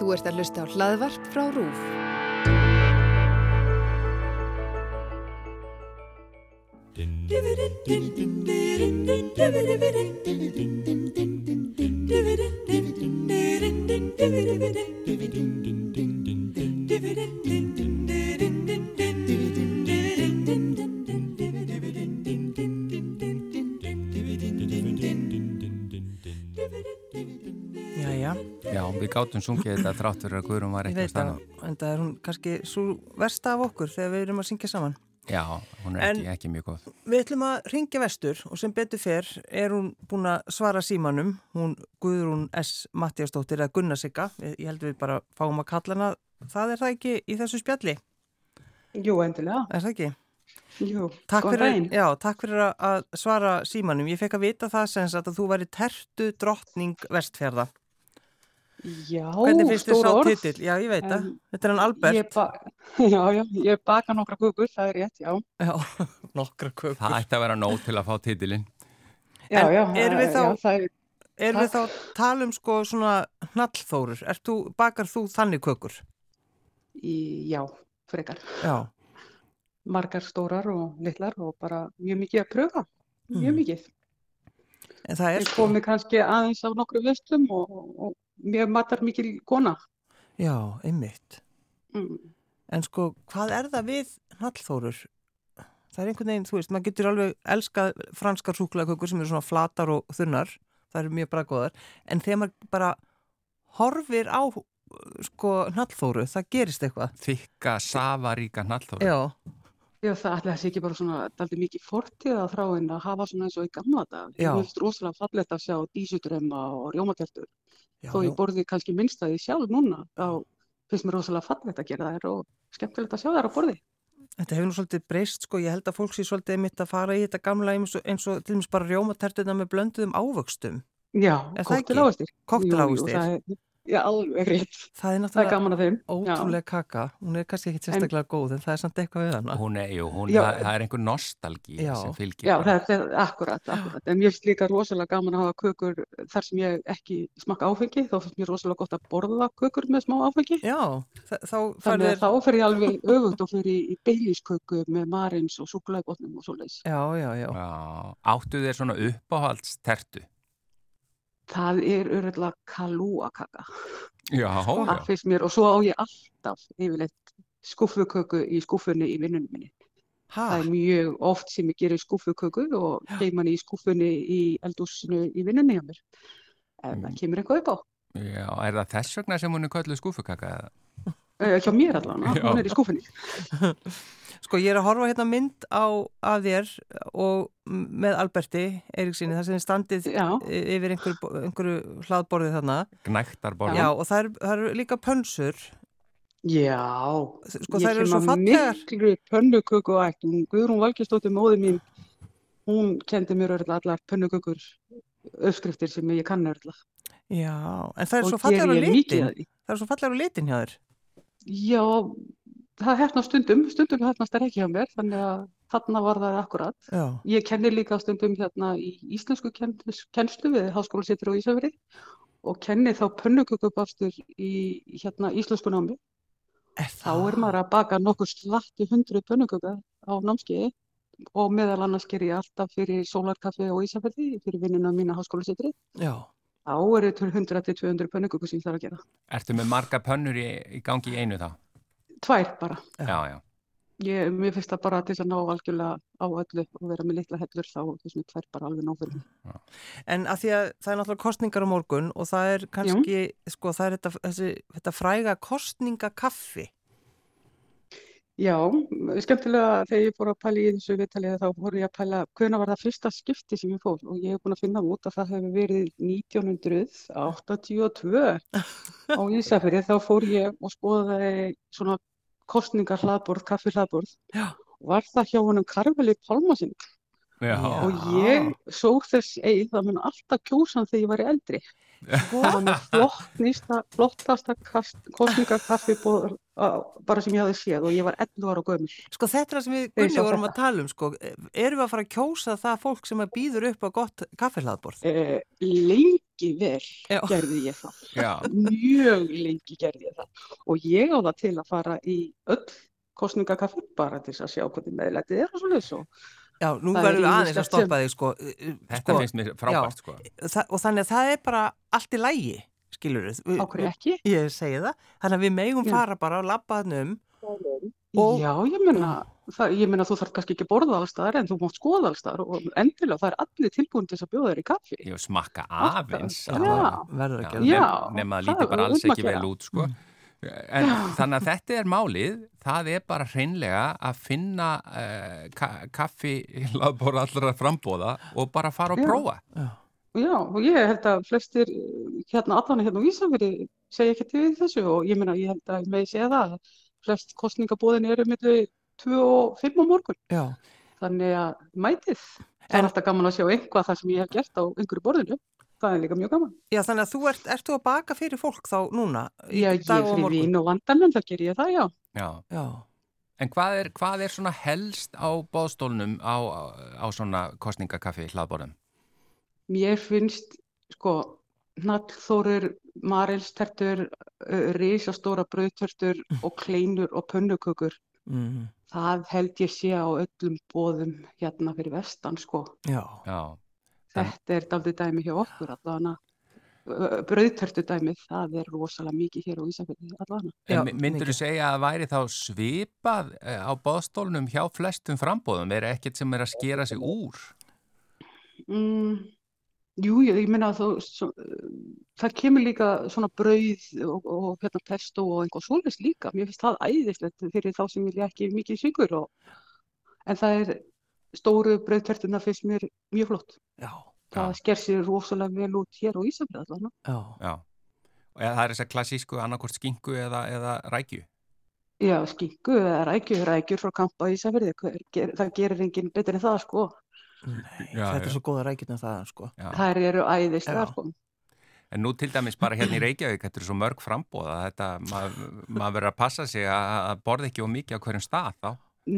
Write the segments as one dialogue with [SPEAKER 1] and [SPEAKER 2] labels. [SPEAKER 1] Þú ert að hlusta á hlaðvarp frá RÚF.
[SPEAKER 2] Jæja,
[SPEAKER 3] Já, við gátum sungið þetta þrátt fyrir að Guðrún var
[SPEAKER 2] ég
[SPEAKER 3] ekki
[SPEAKER 2] veit
[SPEAKER 3] að stanna.
[SPEAKER 2] það, en það er hún kannski svo versta af okkur þegar við erum að syngja saman.
[SPEAKER 3] Já, hún er ekki,
[SPEAKER 2] En-
[SPEAKER 3] ekki mjög góð.
[SPEAKER 2] Við ætlum að ringja vestur og sem betur fer er hún búin að svara símanum, hún Guðrún S. Mattiastóttir eða Gunnarsika, ég held við bara fáum að kalla hana, það er það ekki í þessu spjalli,
[SPEAKER 4] Jú, endilega.
[SPEAKER 2] er það ekki?
[SPEAKER 4] Jú,
[SPEAKER 2] Takk
[SPEAKER 4] góðan
[SPEAKER 2] fyrir,
[SPEAKER 4] daginn.
[SPEAKER 2] já, takk fyrir að- að svara símanum, ég fekk að vita það sem sagt að þú væri tertu drottning vestferða.
[SPEAKER 4] Já,
[SPEAKER 2] Hvernig finnst þér
[SPEAKER 4] stór
[SPEAKER 2] sá
[SPEAKER 4] orð.
[SPEAKER 2] titill? Já, ég veit það,
[SPEAKER 4] En
[SPEAKER 2] þetta er hann
[SPEAKER 4] Ég
[SPEAKER 2] Albert.
[SPEAKER 4] ba já, já, ég baka nokkra gugur, það er rétt, já.
[SPEAKER 2] Já, nokkra kökur.
[SPEAKER 3] Það ætti að vera nóg til að fá titilinn.
[SPEAKER 2] En
[SPEAKER 4] Já, já,
[SPEAKER 2] erum við
[SPEAKER 4] já,
[SPEAKER 2] þá-
[SPEAKER 4] það er,
[SPEAKER 2] Erum við þá að tala um sko svona hnallþórur? Ert þú, bakar þú þannig kökur?
[SPEAKER 4] í, já, frekar.
[SPEAKER 2] Já.
[SPEAKER 4] Margar stórar og litlar og bara mjög mikið að pröfa, mjög
[SPEAKER 2] Mm.
[SPEAKER 4] mikið.
[SPEAKER 2] En það er
[SPEAKER 4] Ég
[SPEAKER 2] sko,
[SPEAKER 4] komi kannski aðeins af nokkru vestum og, og, og mjög matar mikil kona.
[SPEAKER 2] já, einmitt.
[SPEAKER 4] Mm.
[SPEAKER 2] En sko, hvað er það við hnallþórur? Það er einhvern veginn, þú veist, maður getur alveg elskað franskar súklakökur sem eru svona flatar og þunnar. Það eru mjög braggóðar. En þegar maður bara horfir á sko hnallþóru, það gerist eitthvað.
[SPEAKER 3] Þykka, safaríka hnallþóru.
[SPEAKER 2] Já,
[SPEAKER 4] Já, það ætli það sé ekki bara svona, daldi mikið fortíð að þrá en að hafa svona eins og í gamla dag.
[SPEAKER 2] Já.
[SPEAKER 4] Mér finnst rosalega fallegt að sjá dísutrömma og rjómatertur.
[SPEAKER 2] já,
[SPEAKER 4] þó
[SPEAKER 2] já,
[SPEAKER 4] ég borði kannski minnst að ég sjálf núna þá finnst mér rosalega fallegt að gera þær og skemmtilegt að sjá þær á borði
[SPEAKER 2] Þetta hefur nú svolítið breyst sko, ég held að fólk sé svolítið mitt að fara í þetta gamla eins og, eins og til dæmis bara rjómatertuna með blönduðum ávöxtum,
[SPEAKER 4] Já,
[SPEAKER 2] Er það ekki?
[SPEAKER 4] kokteláðistir
[SPEAKER 2] koktelávustir. Það,
[SPEAKER 4] Já, alveg rétt,
[SPEAKER 2] er
[SPEAKER 4] það er
[SPEAKER 2] náttúrulega
[SPEAKER 4] gaman að þeim
[SPEAKER 2] ótrúlega kaka, hún er kannski ekki sérstaklega góð en það er samt eitthvað við hana.
[SPEAKER 3] Hún er, jú, hún,
[SPEAKER 4] Já.
[SPEAKER 3] það, það er einhver nostalgí
[SPEAKER 2] Já.
[SPEAKER 3] sem fylgir.
[SPEAKER 4] Já,
[SPEAKER 3] bara.
[SPEAKER 4] það er akkurat, akkurat, en mér finnst líka rosalega gaman að hafa kökur þar sem ég ekki smakka áfengi, þá finnst mér rosalega gott að borða kökur með smá áfengi.
[SPEAKER 2] Já, þa- þá
[SPEAKER 4] Þannig
[SPEAKER 2] færðir,
[SPEAKER 4] að þá fer ég alveg öfugt og fer í, í beilisköku með marins og súkulægotnum og svoleiðis.
[SPEAKER 2] já, já, já,
[SPEAKER 3] Já. Áttu þér svona uppáhaldstertu?
[SPEAKER 4] Það er örðlega kalúakaka.
[SPEAKER 3] Já, Sko, já.
[SPEAKER 2] Sko,
[SPEAKER 4] það finnst mér og svo á ég alltaf yfirleitt skúffuköku í skúffunni í vinnunum minni.
[SPEAKER 2] ha,
[SPEAKER 3] Ah.
[SPEAKER 4] Það er mjög oft sem ég gerir skúffuköku og geim hann í skúffunni í eldúsinu í vinnunni hjá mér. En
[SPEAKER 3] Mm.
[SPEAKER 4] það kemur eitthvað upp á.
[SPEAKER 3] Já, er það þess vegna sem hún er kölluð skúfukaka? eða?
[SPEAKER 4] Uh, hjá mér allan,
[SPEAKER 3] Já.
[SPEAKER 4] hún er í skúffunni.
[SPEAKER 2] sko ég er að horfa hérna mynd á að þér og m- með Alberti Eiríksinni þar sem þið standið
[SPEAKER 4] Já,
[SPEAKER 2] y- yfir einhverju, bo- einhverju hlaðborðið þarna,
[SPEAKER 3] Gnægtarborð.
[SPEAKER 2] já, og það eru- það eru líka pönsur,
[SPEAKER 4] já.
[SPEAKER 2] sko
[SPEAKER 4] Ég
[SPEAKER 2] það eru
[SPEAKER 4] kem
[SPEAKER 2] svo
[SPEAKER 4] af
[SPEAKER 2] fallegar.
[SPEAKER 4] Miklu pönnuköku og ætt. Hún, Guðrún Valgistóttir, móði mín, hún kendi mér örðlega allar pönnukökur uppskriftir sem ég kann örðlega.
[SPEAKER 2] Já, en það er svo fallegar á litin, það er svo fallegar á litin hjá þér.
[SPEAKER 4] Já, það hefna stundum, stundum hefnast er ekki hjá mér, þannig að þarna var það akkurat.
[SPEAKER 2] Já.
[SPEAKER 4] Ég kenni líka stundum hérna í íslensku kenns- kennslu við Háskólasetur á Ísafirði og kenni þá pönnukökubafstur í hérna íslensku námi.
[SPEAKER 2] Er
[SPEAKER 4] Þá er maður að baka nokkuð slatti hundru pönnuköka á námskeiði og meðal annars ger ég alltaf fyrir Sólarkaffi á Ísafirði, fyrir vinnuna mína á Háskólasetri.
[SPEAKER 2] Já,
[SPEAKER 4] Þá eru til 100 til 200 pönnukökur sem ég þarf að gera.
[SPEAKER 3] Ertu með marga pönnur í, í gangi í einu þá?
[SPEAKER 4] Tvær bara.
[SPEAKER 2] Já.
[SPEAKER 3] Já, já.
[SPEAKER 4] Ég, mér finnst það bara til þess að ná algjörlega á öllu og vera með litla hellur þá þess að tvær bara alveg ná fyrir mig.
[SPEAKER 2] en að því að það er náttúrulega kostningar á morgun og það er kannski, sko, það er þetta, þessi, þetta fræga kostningakaffi.
[SPEAKER 4] Já, skemmtilega þegar ég fór að pæla í þessu viðtalið þá fór ég að pæla hvenær var það fyrsta skipti sem ég fór og ég hef búin að finna út að það hefur verið 1982 á Ísafirði þá fór ég og skoðaði svona kostningar hlaðborð, kaffi hlaðborð
[SPEAKER 2] Já.
[SPEAKER 4] var það hjá honum Karveli Pálmasin
[SPEAKER 3] Já,
[SPEAKER 2] Já.
[SPEAKER 4] og ég sóg þess eigið að mun alltaf kjósa hann þegar ég væri eldri.
[SPEAKER 2] Sko,
[SPEAKER 4] Það var mér flottnista, flottasta kostningakaffi bara sem ég hafði séð og ég var 11 ára gömur.
[SPEAKER 2] sko þetta er það sem við
[SPEAKER 4] Ég
[SPEAKER 2] Gunni
[SPEAKER 4] sá
[SPEAKER 2] vorum
[SPEAKER 4] þetta.
[SPEAKER 2] að tala um, sko, erum við að fara að kjósa það fólk sem að býður upp á gott kaffihlaðborð?
[SPEAKER 4] Eh, lengi lengi vel
[SPEAKER 2] Já.
[SPEAKER 4] gerði ég það.
[SPEAKER 3] já,
[SPEAKER 4] Mjög lengi gerði ég það. Og ég á það til að fara í öll kostningakaffin bara til þess að sjá hvernig meðlætið er og svo leiðis og
[SPEAKER 2] Já, nú
[SPEAKER 4] Það er
[SPEAKER 2] verðum við
[SPEAKER 4] ýmislegt
[SPEAKER 2] aðeins að
[SPEAKER 4] sem-
[SPEAKER 2] stoppa þig sko, uh, uh,
[SPEAKER 3] þetta
[SPEAKER 2] sko
[SPEAKER 3] finnst mér frábært sko.
[SPEAKER 2] það, og þannig að það er bara allt í lægi, skilur við.
[SPEAKER 4] á hverju ekki.
[SPEAKER 2] Ég segi það. Þannig að við megum
[SPEAKER 4] Já.
[SPEAKER 2] fara bara og labba hann um. Og-
[SPEAKER 4] Já, ég meina, það, ég meina þú þarf kannski ekki að borða allstaðar en þú mátt skoða allstaðar og endilega það er allir tilbúin til þess að bjóða þér í kaffi.
[SPEAKER 3] Ég smakka aðeins
[SPEAKER 4] Já.
[SPEAKER 3] allavega.
[SPEAKER 2] Verður að
[SPEAKER 3] Já,
[SPEAKER 2] gera það.
[SPEAKER 3] nef-
[SPEAKER 4] Já,
[SPEAKER 3] nema að
[SPEAKER 4] það
[SPEAKER 3] líti bara
[SPEAKER 4] er
[SPEAKER 3] alls
[SPEAKER 4] um að
[SPEAKER 3] ekki vel
[SPEAKER 4] gera.
[SPEAKER 3] út sko. en þannig að þetta er málið það er bara hreinlega að finna uh, ka kaffi laðbóra allra frambóða og bara fara og
[SPEAKER 4] Já.
[SPEAKER 3] prófa
[SPEAKER 4] Já, og ég held að flestir eh, hérna allan hérna á Ísafirði segja ekkert við þessu og ég meina, ég held að með segja það að flest kosningabóðin eru milli 2 og 5 á morgun,
[SPEAKER 2] Já.
[SPEAKER 4] þannig að mætið. Það er
[SPEAKER 2] En-
[SPEAKER 4] alltaf gaman að sjá eitthvað það sem ég hef gert á einhverju borðinu. Það er líka mjög gaman.
[SPEAKER 2] Já, þannig að þú ert, ert þú að baka fyrir fólk þá núna? í
[SPEAKER 4] Já, ég
[SPEAKER 2] dag og á
[SPEAKER 4] fyrir
[SPEAKER 2] morgun?
[SPEAKER 4] vín og vandamenn, þá ger ég það, já.
[SPEAKER 3] já.
[SPEAKER 2] Já.
[SPEAKER 3] en hvað er, hvað er svona helst á bóðstólnum á, á, á svona kostningakaffi laðbórum
[SPEAKER 4] Mér finnst, sko, hnallþórur, marilstertur, risastóra brauðtertur og kleinur og pönnukökur.
[SPEAKER 2] Mm,
[SPEAKER 4] Það held ég sé á öllum boðum hérna fyrir vestan, sko.
[SPEAKER 2] já.
[SPEAKER 3] já, En-
[SPEAKER 4] Þetta er daldið dæmi hjá okkur allavega. Brauðtertu dæmið, það er rosalega mikið hér á Ísafjörði allavega.
[SPEAKER 2] Já,
[SPEAKER 3] en
[SPEAKER 2] mikið.
[SPEAKER 3] myndur þú segja að væri þá svipað eh, á bóðstólnum hjá flestum frambóðum er ekkert sem er að skera sig úr
[SPEAKER 4] Mm, jú, ég, ég meina að þú, svo, eh, það kemur líka svona brauð og, og hérna pesto og einhver svoleiðis líka. Mér finnst það æðislegt fyrir þá sem vilja ekki mikið syngur og, en það er stóru brauðtertuna finnst mér mjög flott.
[SPEAKER 2] Já.
[SPEAKER 4] Það sker sér rosalega vel út hér á Ísafjörði allavega.
[SPEAKER 2] Já.
[SPEAKER 3] já, og eða það er þess að klassísku annarkort skingu eða, eða rækju
[SPEAKER 4] Já, skinku eða rækjur, rækjur frá kampa í Ísafirði, hver- ger- það gerir enginn betur en það sko.
[SPEAKER 2] Nei,
[SPEAKER 3] Já,
[SPEAKER 2] þetta
[SPEAKER 3] já.
[SPEAKER 2] er svo góða rækjurnar það, sko.
[SPEAKER 3] já.
[SPEAKER 4] Þær eru æðislega
[SPEAKER 2] Já.
[SPEAKER 4] sko.
[SPEAKER 3] En nú til dæmis bara hérna í Reykjavík, þetta eru svo mörg frambóða, þetta, maður mað verður að passa sig að, að borða ekki of mikið á hverjum stað þá.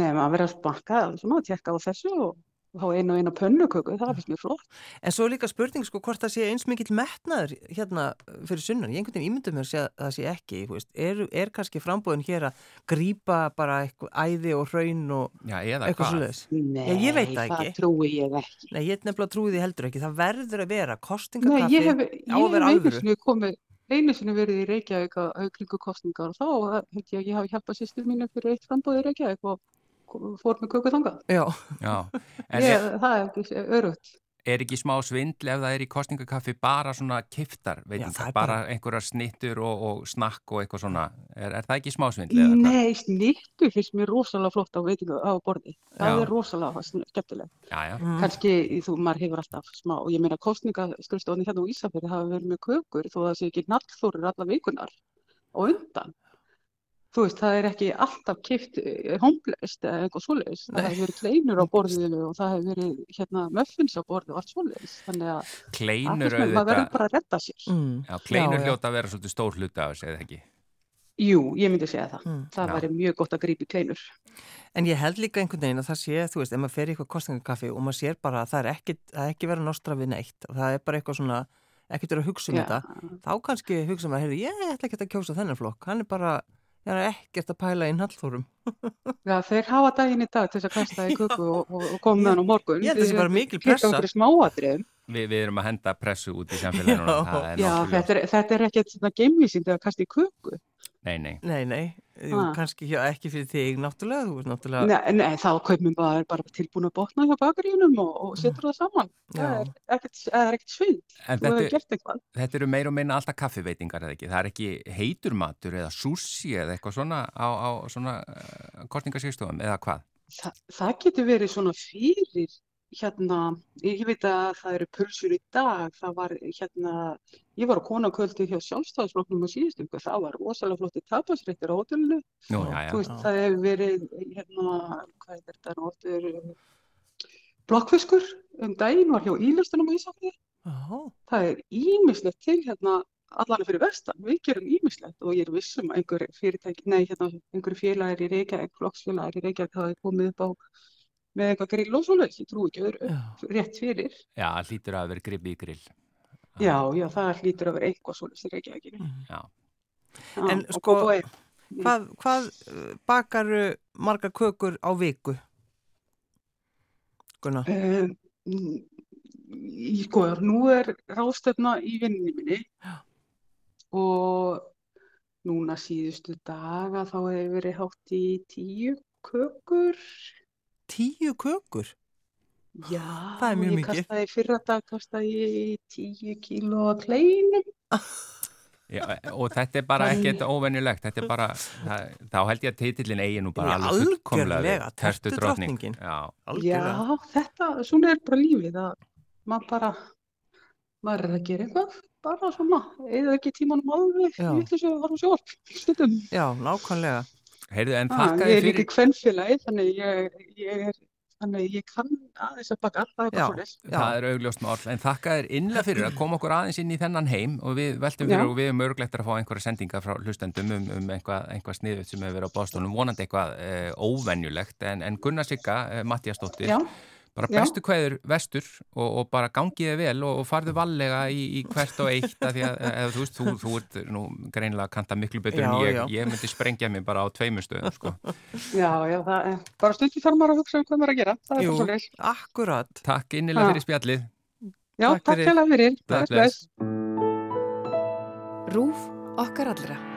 [SPEAKER 4] Nei, maður verður að smakka svona og tekka á þessu og fá einu og einu pönnuköku, það finnst mér flott.
[SPEAKER 2] En svo er líka spurning, sko, hvort það sé eins mikill metnaður hérna fyrir sunnan. Ég einhvern veginn ímyndum mér að sé- það sé ekki, þú veist. Er, er kannski frambúðin hér að grípa bara eitthvað æði og hraun og
[SPEAKER 3] Já, eða
[SPEAKER 2] eitthvað
[SPEAKER 3] hvað?
[SPEAKER 2] svoleiðis?
[SPEAKER 4] Nei,
[SPEAKER 2] ég veit það
[SPEAKER 4] það
[SPEAKER 2] ekki.
[SPEAKER 4] trúi ég ekki.
[SPEAKER 2] Nei, ég nefnilega trúi því heldur ekki. Það verður að vera
[SPEAKER 4] Nei,
[SPEAKER 2] kostingakaffi.
[SPEAKER 4] ég hef,
[SPEAKER 2] á að
[SPEAKER 4] ég hef
[SPEAKER 2] vera
[SPEAKER 4] einu
[SPEAKER 2] alvöru.
[SPEAKER 4] sinni komið, einu sinni verið í Reykjavík á á kringu kostningar og þá held ég að ég hafi hjálpað sýstur mínu fyrir eitt framboð í Reykjavík og og fór með köku þangað.
[SPEAKER 2] Já,
[SPEAKER 3] Já, en
[SPEAKER 4] Ég,
[SPEAKER 3] er,
[SPEAKER 4] það er örugt.
[SPEAKER 3] er ekki smá svindl ef það er í kostningakaffi bara svona kiftar, veit
[SPEAKER 2] Já,
[SPEAKER 3] ekki,
[SPEAKER 2] það er
[SPEAKER 3] bara,
[SPEAKER 2] bara-
[SPEAKER 3] einhverjar snittur og, og snakk og eitthvað svona, er, er það ekki smá svindl eða hvað?
[SPEAKER 4] Nei, snittur finnst mér rosalega flott á veitingu á borði. Það
[SPEAKER 3] Já.
[SPEAKER 4] er rosalega sn- skemmtilegt.
[SPEAKER 3] Já, já,
[SPEAKER 2] mm,
[SPEAKER 4] Kannski þú, maður hefur alltaf smá, og ég meina kostningaskrifstofunni hérna á Ísafjörði hafa verið með kökur þó það sé ekki nattþórir alla vikunar og undan. Þú veist, það er ekki alltaf kipt homblest eða eitthvað svoleiðis.
[SPEAKER 2] Nei.
[SPEAKER 4] Það hefur verið kleinur á borðinu og það hefur verið hérna muffins á borði og allt svoleiðis. Þannig að það
[SPEAKER 3] kleinur
[SPEAKER 4] finnst mér, maður verður
[SPEAKER 3] auðvitað,
[SPEAKER 4] bara að redda sér.
[SPEAKER 2] mm,
[SPEAKER 3] já,
[SPEAKER 2] Já,
[SPEAKER 3] kleinur
[SPEAKER 2] já.
[SPEAKER 3] hljóta að vera svolítið stór hluti af þessu, eða ekki?
[SPEAKER 4] Jú, ég myndi segja það.
[SPEAKER 2] mm.
[SPEAKER 4] Það
[SPEAKER 3] Já.
[SPEAKER 4] væri mjög gott að grípa í kleinur.
[SPEAKER 2] En ég held líka einhvern veginn að það sé, þú veist, ef maður fer í eitthvað kostningakaffi og maður sér bara að það er ekki, það er ekki verið að nostra við neitt, það er bara eitthvað svona, ekkert verið að hugsa um
[SPEAKER 4] Já.
[SPEAKER 2] þetta, þá kannski hugsa maður, heyrðu, ég ætla ekkert að kjósa þennan flokk, hann er bara, það er ekkert að pæla inn hallþórum.
[SPEAKER 4] Já, þeir hafa daginn í dag til þess að kasta í köku og, og, og koma með hann á morgun.
[SPEAKER 2] Ég held þessi bara mikil pressa.
[SPEAKER 4] Þetta er smáatriðum.
[SPEAKER 3] Vi, við erum að henda pressu út í samfélaginu, núna,
[SPEAKER 2] Já.
[SPEAKER 3] það er
[SPEAKER 4] Já,
[SPEAKER 3] nokkuð ljóst.
[SPEAKER 4] þetta er, þetta er ekkert svona geimvísind að kasta í köku.
[SPEAKER 3] Nei, nei,
[SPEAKER 2] Nei, nei, jú,
[SPEAKER 4] Ha.
[SPEAKER 2] kannski já, ekki fyrir þig náttúrulega, þú veist náttúrulega,
[SPEAKER 4] Nei, nei, þá kaupum maður bara tilbúin að botna hjá bakaríunum og,
[SPEAKER 3] Mm.
[SPEAKER 4] og setur það saman. Það
[SPEAKER 2] já,
[SPEAKER 4] er ekkert, það er ekkert svind.
[SPEAKER 3] en
[SPEAKER 4] Þú hefur
[SPEAKER 3] þetta,
[SPEAKER 4] gert eitthvað.
[SPEAKER 3] Þetta eru meir og minna alltaf kaffiveitingar eða ekki. Það er ekki heitur matur eða sushi eða eitthvað svona á, á svona uh, kostningarsýrstofum eða hvað.
[SPEAKER 4] Þa, það getur verið svona fyrir, hérna, ég veit að það eru pulsur í dag, það var, hérna, ég var á konaköldu hjá sjálfstæðisflokknum á síðustu, viku, það var rosalega flotti tapasréttir á hótelinu.
[SPEAKER 3] Nú,
[SPEAKER 2] Já,
[SPEAKER 3] já,
[SPEAKER 4] Sko, Þú
[SPEAKER 3] já.
[SPEAKER 4] veist,
[SPEAKER 2] Já.
[SPEAKER 4] það hefur verið, hérna, hvað er þetta náttur, blokkfiskur um daginn var hjá Ílustunum á Ísafjörði.
[SPEAKER 2] já,
[SPEAKER 4] Það er ímislegt til, hérna, allan fyrir vestan, við gerum ímislegt og ég er viss um að einhver fyrirtæki, nei, hérna, einhver félagir í Reykjavík, flokksfélagir í Reykjavík hafa komið upp á með eitthvað grill og svoleiðis, ég trúi ekki öðru,
[SPEAKER 2] já,
[SPEAKER 4] rétt fyrir.
[SPEAKER 3] Já, hlýtur að vera grippi í grill.
[SPEAKER 4] Já, já, það hlýtur að vera eitthvað svolítið í Reykjavíkinu.
[SPEAKER 3] Já.
[SPEAKER 4] Já,
[SPEAKER 2] En
[SPEAKER 4] og
[SPEAKER 2] sko-
[SPEAKER 4] Kópavogi.
[SPEAKER 2] Hvað, hvað bakaru margar kökur á viku? Gunnar,
[SPEAKER 4] Eh, mm, í- Sko, nú er ráðstefna í vinninni minni og núna síðustu daga þá hefur verið hátt í tíu kökur.
[SPEAKER 2] tíu kökur?
[SPEAKER 4] Já,
[SPEAKER 2] Það er mjög
[SPEAKER 4] ég
[SPEAKER 2] mikið.
[SPEAKER 4] kastaði fyrra dag, kastaði ég tíu kíló að kleinum.
[SPEAKER 3] Já, og þetta er bara
[SPEAKER 4] Þannig-
[SPEAKER 3] ekkert óvenjulegt þetta er bara, það, þá held ég að titillin eigin nú bara
[SPEAKER 2] Já,
[SPEAKER 3] alveg fullkomlega við.
[SPEAKER 2] algjörlega, tertudrottningin.
[SPEAKER 3] Tertudrottning. Já,
[SPEAKER 2] Algjörlega.
[SPEAKER 4] Já, þetta, svona er bara lífið að maður bara, maður er að gera eitthvað, bara svona, eða ekki tímanum alveg,
[SPEAKER 2] Já.
[SPEAKER 4] ég ætla að horfa á sjónvarp, stundum.
[SPEAKER 2] Já, nákvæmlega.
[SPEAKER 3] heyrðu en
[SPEAKER 4] Ah,
[SPEAKER 3] þakka
[SPEAKER 4] ég
[SPEAKER 3] þið
[SPEAKER 4] er líka í
[SPEAKER 3] fyrir
[SPEAKER 4] kvenfélagi, þannig ég, ég er, þannig ég kann aðeins að baka, það er bara
[SPEAKER 2] Já.
[SPEAKER 4] svoleiðis.
[SPEAKER 2] Já.
[SPEAKER 3] það er augljóst mál, en þakka þér innlega fyrir að koma okkur aðeins inn í þennan heim og við veltum
[SPEAKER 4] Já.
[SPEAKER 3] fyrir og við erum örglegt að fá einhverja sendinga frá hlustendum um, um einhvað, einhvað sniðut sem hefur verið á bástunum, vonandi eitthvað eh, óvenjulegt, en, en Gunnar Sigga eh, Mattiasdóttir,
[SPEAKER 4] Já,
[SPEAKER 3] bara
[SPEAKER 4] Já.
[SPEAKER 3] bestu kveður vestur og, og bara gangiði vel og, og farðu vallega í, í hvert og eitt af því að eða, þú veist, þú, þú ert nú greinlega að kanta miklu betur en
[SPEAKER 2] Já,
[SPEAKER 3] ég,
[SPEAKER 2] já.
[SPEAKER 3] ég myndi sprengja mig bara á tveimur stöðum sko.
[SPEAKER 4] já, já, það er, bara stundum þarf maður að hugsa um hvað maður er að gera, það er
[SPEAKER 2] Jú.
[SPEAKER 4] bara svoleiðis.
[SPEAKER 2] Akkurat.
[SPEAKER 3] Takk innilega
[SPEAKER 4] Já.
[SPEAKER 3] fyrir spjallið
[SPEAKER 4] Já,
[SPEAKER 2] Takk
[SPEAKER 4] takk
[SPEAKER 2] fyrir.
[SPEAKER 4] hérlega fyrir,
[SPEAKER 3] Bless,
[SPEAKER 4] bless,
[SPEAKER 3] bless.
[SPEAKER 4] bless.
[SPEAKER 1] RÚF okkar allra.